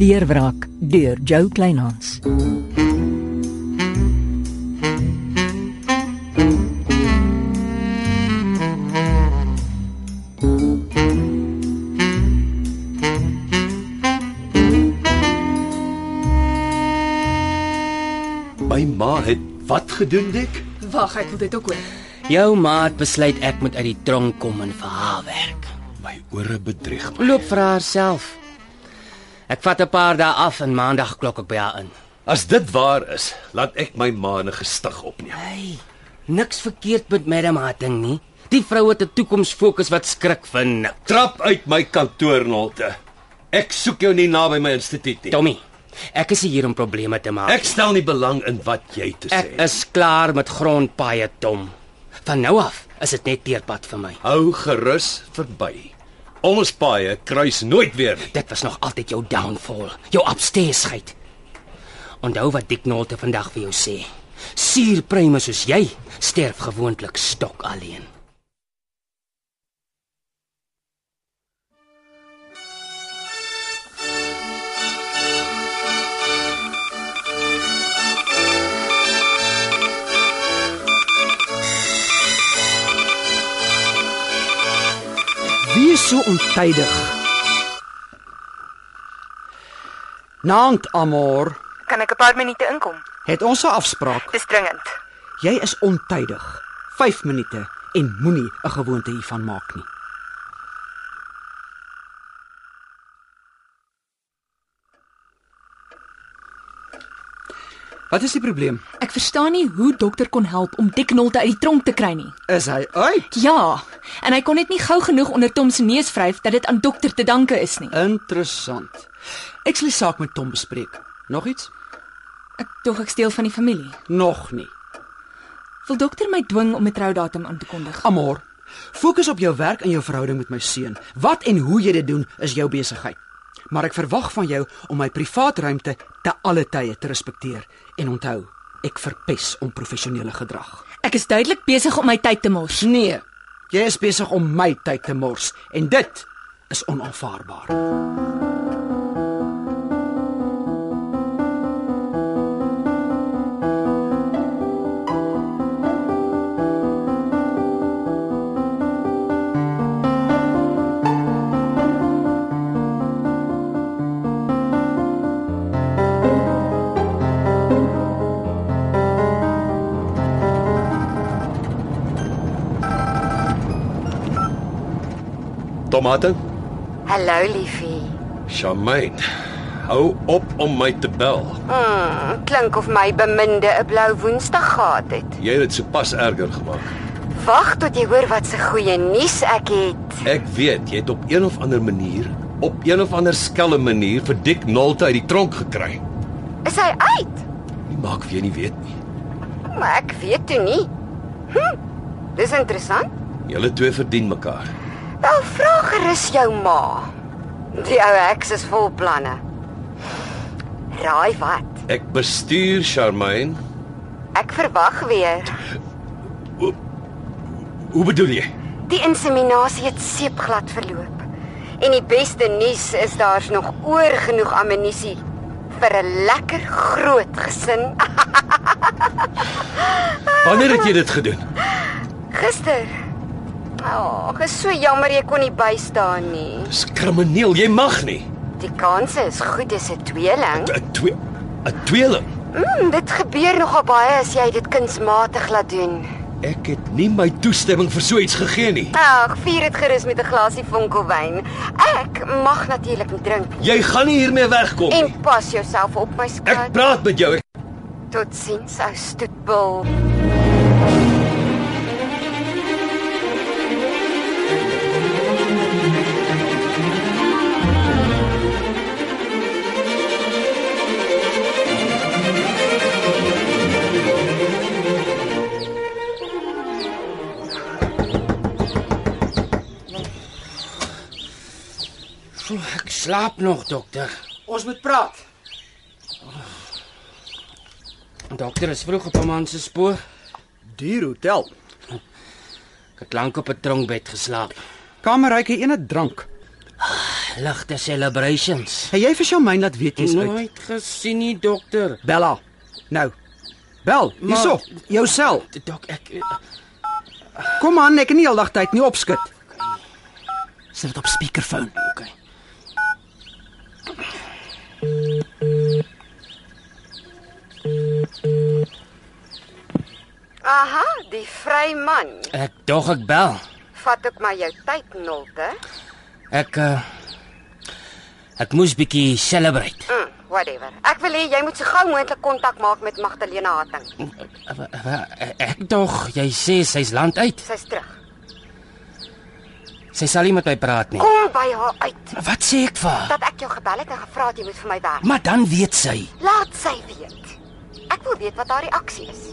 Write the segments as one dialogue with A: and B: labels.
A: Weerwrak deur Jo Kleinhans.
B: My ma het wat gedoen dik?
C: Wag, ek wil dit ook hoor.
D: Jou maat besluit ek moet uit die tronk kom en vir haar werk.
B: My ore bedrieg my.
D: Loop vir haarself. Ek vat 'n paar dae af en maandag klok ek by haar in.
B: As dit waar is, laat ek my ma in 'n gestig opneem.
D: Hey, niks verkeerd met Madam Hatting nie. Die vrou het 'n toekomsfokus wat skrik vir nik.
B: Trap uit my kantoornolte. Ek soek jou nie naby my instituut nie.
D: Tommy, ek is nie hier om probleme te maak.
B: Ek stel nie belang in wat jy te sê.
D: ek is klaar met grondpaaie, Tom. Van nou af is dit net teerpad vir my.
B: hou gerus verby. Ons paaie kruis nooit weer nie.
D: Dit was nog altyd jou downfall, jou absteesheid. Onthou wat Dick Nolte vandag vir jou sê. Suurpryme soos jy sterf gewoonlik stok alleen.
E: Wees so ontydig. Naand Amor,
F: Kan ek 'n paar minute inkom?
E: het ons 'n afspraak.
F: Dis dringend.
E: Jy is ontydig. 5 minute en moenie 'n gewoonte hiervan maak nie. Wat is die probleem?
C: Ek verstaan nie hoe dokter kon help om Dick Nolte uit die tronk te kry nie.
E: Is hy uit?
C: Ja, en hy kon dit nie gou genoeg onder Tom se neus vryf dat dit aan dokter te danke is nie.
E: Interessant. Ek sal die saak met Tom bespreek. Nog iets?
C: Ek tog ek steel van die familie.
E: Nog nie.
C: Wil dokter my dwing om 'n troudatum aan te kondig?
E: Amor, fokus op jou werk en jou verhouding met my seun. Wat en hoe jy dit doen is jou besigheid. Maar ek verwag van jou om my privaatruimte te alle tye te respekteer en onthou, ek verpes onprofessionele gedrag.
C: Ek is duidelik besig om my tyd te mors.
E: Nee, jy is besig om my tyd te mors en dit is onaanvaarbaar.
B: Tomate?
F: Hallo liefie.
B: Charmaine, hou op om my te bel.
D: Ah.
F: Mm, klink of my beminde 'n blou Woensdag gehad het.
B: Jy het dit sopas erger gemaak.
F: Wag tot jy hoor wat se goeie nuus ek het.
B: Ek weet jy het op een of ander manier, op een of ander skelm manier vir Dick Nolte uit die tronk gekry.
F: Is hy uit?
B: Nie maak of jy nie weet nie.
F: Maar ek weet toe nie. Hm. Dis interessant.
B: Julle twee verdien mekaar.
F: Wel vra gerus jou ma. Die ou heks is vol planne. Raai wat?
B: Ek bestuur Charmaine.
F: Ek verwag weer.
B: Hoe bedoel jy?
F: Die inseminasie het seepglad verloop. En die beste nuus is daar's nog oor genoeg ammunisie vir 'n lekker groot gesin. Ah,
B: Wanneer het jy dit gedoen?
F: Gister. Ag, oh, is so jammer jy kon nie bystaan nie.
B: Dis krimineel, jy mag nie.
F: Die kanse is goed as 'n tweeling.
B: 'n twee 'n tweeling.
F: Mm, dit gebeur nogal baie as jy dit kunsmatig laat doen.
B: Ek het nie my toestemming vir so iets gegee nie.
F: Ag, vier dit gerus met 'n glasie vonkelwyn. Ek mag natuurlik nie drink nie.
B: Jy gaan nie hiermee wegkom nie.
F: En pas jouself op my
B: Ek
F: skat.
B: praat met jou. Ek
F: Totsiens, ou stoetbul.
D: Pff, ek slaap nog, dokter.
E: Ons moet praat.
D: Dokter is vroeg op 'n man se spoor.
E: Duur hotel.
D: Ek het lank op 'n tronkbed geslaap. Ah,
E: Kamer ruik hier ene drank.
D: Ligte celebrations.
E: Het jy vir Charmaine laat weet jy's uit?
D: Nooit gesien nie, dokter.
E: Bella. Nou. Bel,
D: Maar-
E: hierso, jou sel.
D: Dok, ek
E: Kom aan, ek het nie heeldag tyd nie opskit.
D: sit dit op speakerfoon. Okay.
F: Aha, die vry man.
D: Ek dog ek bel.
F: Vat ook maar jou tyd, Nolte.
D: Ek uh, ek moes bietjie celebrate.
F: Mm, whatever. Ek wil hê jy moet so gou moontlik kontak maak met Magdalena Hatting.
D: Ek dog jy sê sy's land uit.
F: Sy's terug.
D: Sy sal nie met my praat nie.
F: Kom by haar uit.
D: Wat sê ek vir haar?
F: Dat ek jou gebel het en gevra het jy moet vir my werk.
D: Maar dan weet sy.
F: Laat sy weet. Ek wil weet wat haar reaksie is.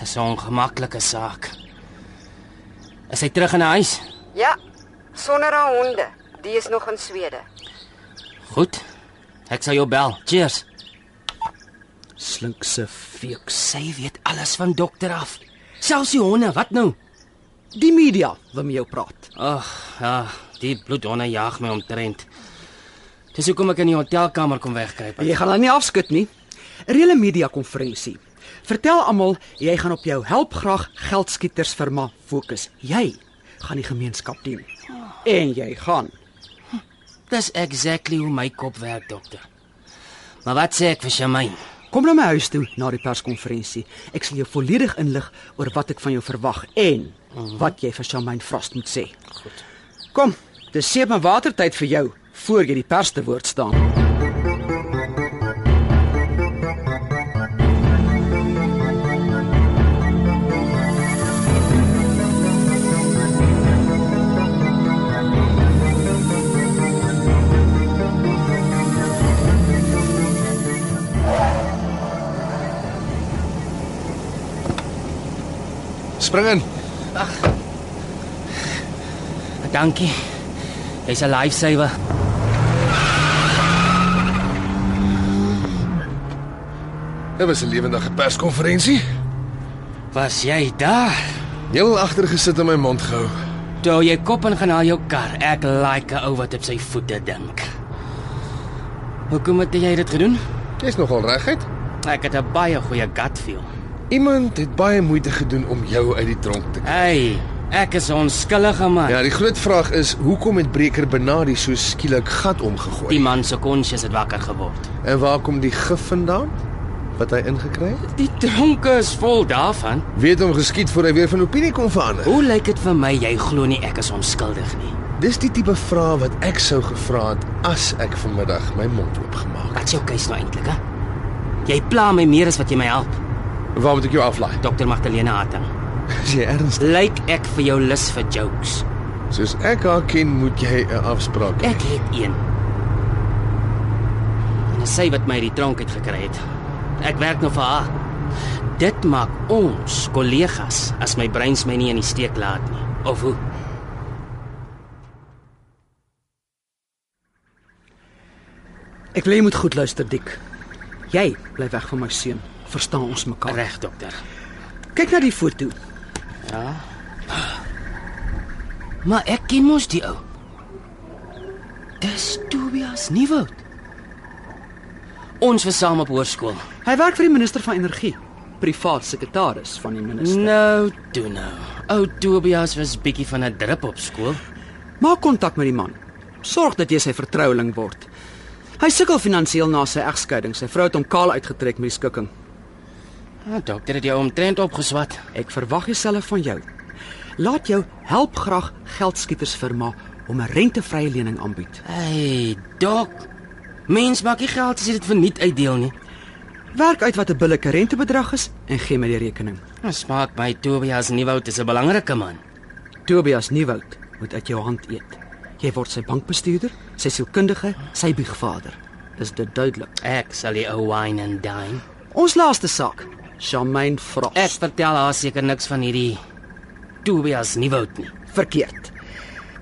D: Dis 'n ongemaklike saak. Is sy terug in die huis?
F: Ja, sonder haar honde. Die is nog in Swede.
D: Goed. Ek sal jou bel. Cheers.
E: Slink se.
D: Fiek, sy weet alles van dokter af. Selfs die honde, wat nou?
E: Die media wil met jou praat.
D: Ag, ja, die bloedhonde jag my omtrent. Dis hoekom ek in die hotelkamer kom wegkruip.
E: Jy gaan haar nie afskit nie. Reële media konferensie. Vertel almal jy gaan op jou help graag geldskieters firma fokus. Jy gaan die gemeenskap dien. En jy gaan.
D: Dis exactly hoe my kop werk, dokter. Maar wat sê ek vir Shamaine?
E: Kom na my huis toe na die perskonferensie. Ek sal jou volledig inlig oor wat ek van jou verwag en wat jy vir Charmaine Frost moet sê. Goed. Kom, dis seep en watertyd vir jou voor jy die pers te woord staan.
B: Spring in.
D: Dankie. Jy's 'n lifesaver.
B: Dit was 'n lewendige perskonferensie.
D: Was jy daar?
B: Heel agter gesit en my mond gehou.
D: Toe jy kop in gaan haal jou kar. Ek like 'n ou wat op sy voete dink. Hoekom het jy dit gedoen?
B: Jy's nogal reguit.
D: Ek het 'n baie goeie gut feel.
B: Iemand het baie moeite gedoen om jou uit die tronk te kry.
D: Hey, ek is 'n onskuldige man.
B: Ja, die groot vraag is hoekom het Breker Benadi so skielik gat omgegooi?
D: Die man se konsjens het wakker geword.
B: En waar kom die gif vandaan wat hy ingekry het?
D: Die dronke is vol daarvan.
B: Weet hom geskiet voor hy weer van opinie kon verander.
D: Hoe lyk dit vir my jy glo nie ek is onskuldig nie?
B: Dis die tipe vrae wat ek sou gevra het as ek vanmiddag my mond oopgemaak
D: Wat is jou keuse nou eintlik, hè? Jy pla my meer as wat jy my help,
B: het. Waar moet ek jou aflaai?
D: Dr. Magdalena Hatting.
B: Is jy ernstig?
D: Lyk ek vir jou lus vir jokes?
B: Soos ek haar ken, moet jy 'n afspraak hê.
D: Ek het een. En dis sy wat my uit die tronk het gekry het. Ek werk nou vir haar. Dit maak ons kollegas as my breins my nie in die steek laat nie. Of hoe?
E: Ek wil jy moet goed luister, Dik. Jy bly weg van my seun. Verstaan ons mekaar?
D: Reg, dokter.
E: Kyk na die foto.
D: Maar ek ken mos die ou. Dis Tobias Nieuwoud. Ons was saam op hoërskool.
E: Hy werk vir die minister van energie, privaat sekretaris van die minister.
D: Nou, toe nou. Ou Tobias was bietjie van 'n drup op skool.
E: Maak kontak met die man. Sorg dat jy sy vertroueling word. Hy sukkel finansiëel na sy egskeiding. Sy vrou het hom kaal uitgetrek met die skikking.
D: Ah, dokter het jou omtrent opgeswat.
E: Ek verwag dieselfde van jou. Laat jou help graag geldskieters firma om 'n rentevrye lening aanbied.
D: Hey, dok. Mens maak nie geld as jy dit verniet uitdeel nie.
E: Werk uit wat 'n billike rentebedrag is en gee my die rekening.
D: Ons maak by Tobias Nieuwoud is 'n belangrike man.
E: Tobias Nieuwoud moet uit jou hand eet. Jy word sy bankbestuurder, sy sielkundige, sy biegvader. Is dit duidelik?
D: Ek sal die ou wine and dine.
E: Ons laaste saak, Charmaine Frost.
D: Ek vertel haar seker niks van hierdie Tobias Nieuwoud nie.
E: verkeerd.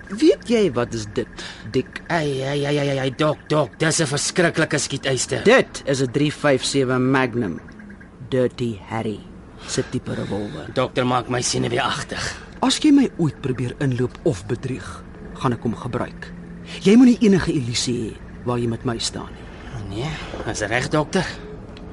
E: Weet jy wat is dit? Dik.
D: Ai ai ai ai, ai dok dok, dis 'n verskriklike skietyster.
E: Dit is 'n 357 Magnum. Dirty Harry. se tipe revolver.
D: Dokter maak my senuweeagtig.
E: As jy my ooit probeer inloop of bedrieg, gaan ek hom gebruik. Jy moenie enige illusie hê waar jy met my staan nie.
D: Nee, is reg dokter?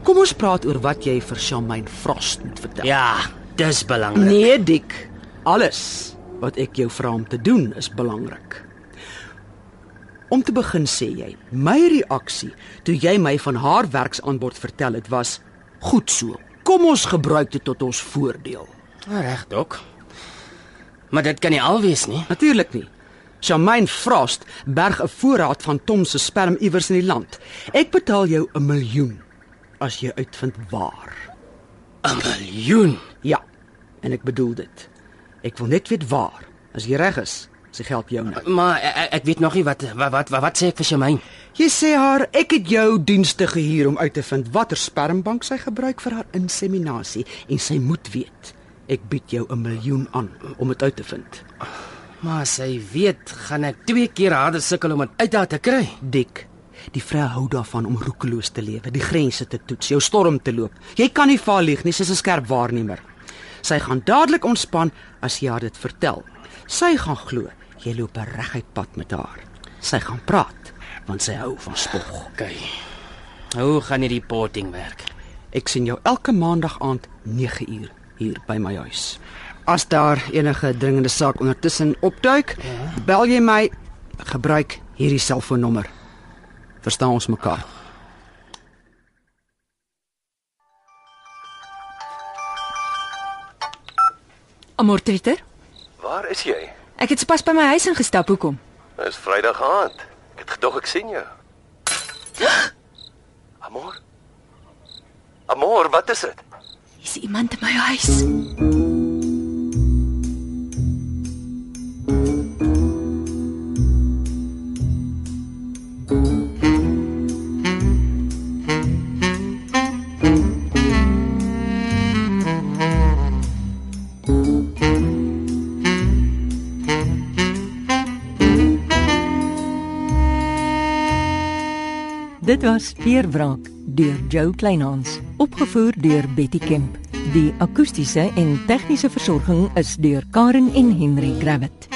E: Kom ons praat oor wat jy vir Charmaine Frost moet vertel.
D: Ja, dis belangrik.
E: Nee, Dick. Alles wat ek jou vra om te doen is belangrik. Om te begin sê jy, my reaksie toe jy my van haar werksaanbod vertel het was goed so. Kom ons gebruik dit tot ons voordeel.
D: Nee. Ah, Reg dok. Maar dit kan nie al wees nie.
E: Natuurlik nie. Charmaine Frost berg 'n voorraad van Tom se sperm iewers in die land. Ek betaal jou 'n miljoen as jy uitvind waar.
D: 'n Miljoen.
E: Ja. En ek bedoel dit. Ek wil net weet waar. As jy reg is, is die geld joune.
D: Maar ek, ek weet nog nie wat wat wat, wat sê ek vir Shamaine?
E: Jy sê haar ek het jou dienste gehuur om uit te vind watter spermbank sy gebruik vir haar inseminasie en sy moet weet. Ek bied jou 'n miljoen aan om dit uit te vind.
D: Maar sy weet gaan ek twee keer harder sukkel om dit uit haar te kry.
E: Dik. Die vrou hou daarvan om roekeloos te lewe, die grense te toets, jou storm te loop. Jy kan nie vaal lieg nie, sy's 'n skerp waarnemer. Sy gaan dadelik ontspan as jy haar dit vertel. Sy gaan glo jy loop 'n reguit pad met haar. Sy gaan praat want sy hou van spog.
D: OK. Hoe gaan hierdie reporting werk?
E: Ek sien jou elke maandag aand 9uur hier by my huis. As daar enige dringende saak ondertussen opduik, bel jy my. Gebruik hierdie selfoonnommer. Verstaan ons mekaar?
C: Amortriter,
G: Waar is jy?
C: ek het sopas by my huis ingestap. Hoekom?
G: Dit Nou is Vrydag aand. Ek het gedog ek sien jou. Amor? Amor, wat is dit?
C: Is iemand in my huis?
A: Dit was Veerwraak deur Jo Kleinhans, opgevoer deur Betty Kemp. Die akoestiese en tegniese versorging is deur Karen en Henry Krabbit.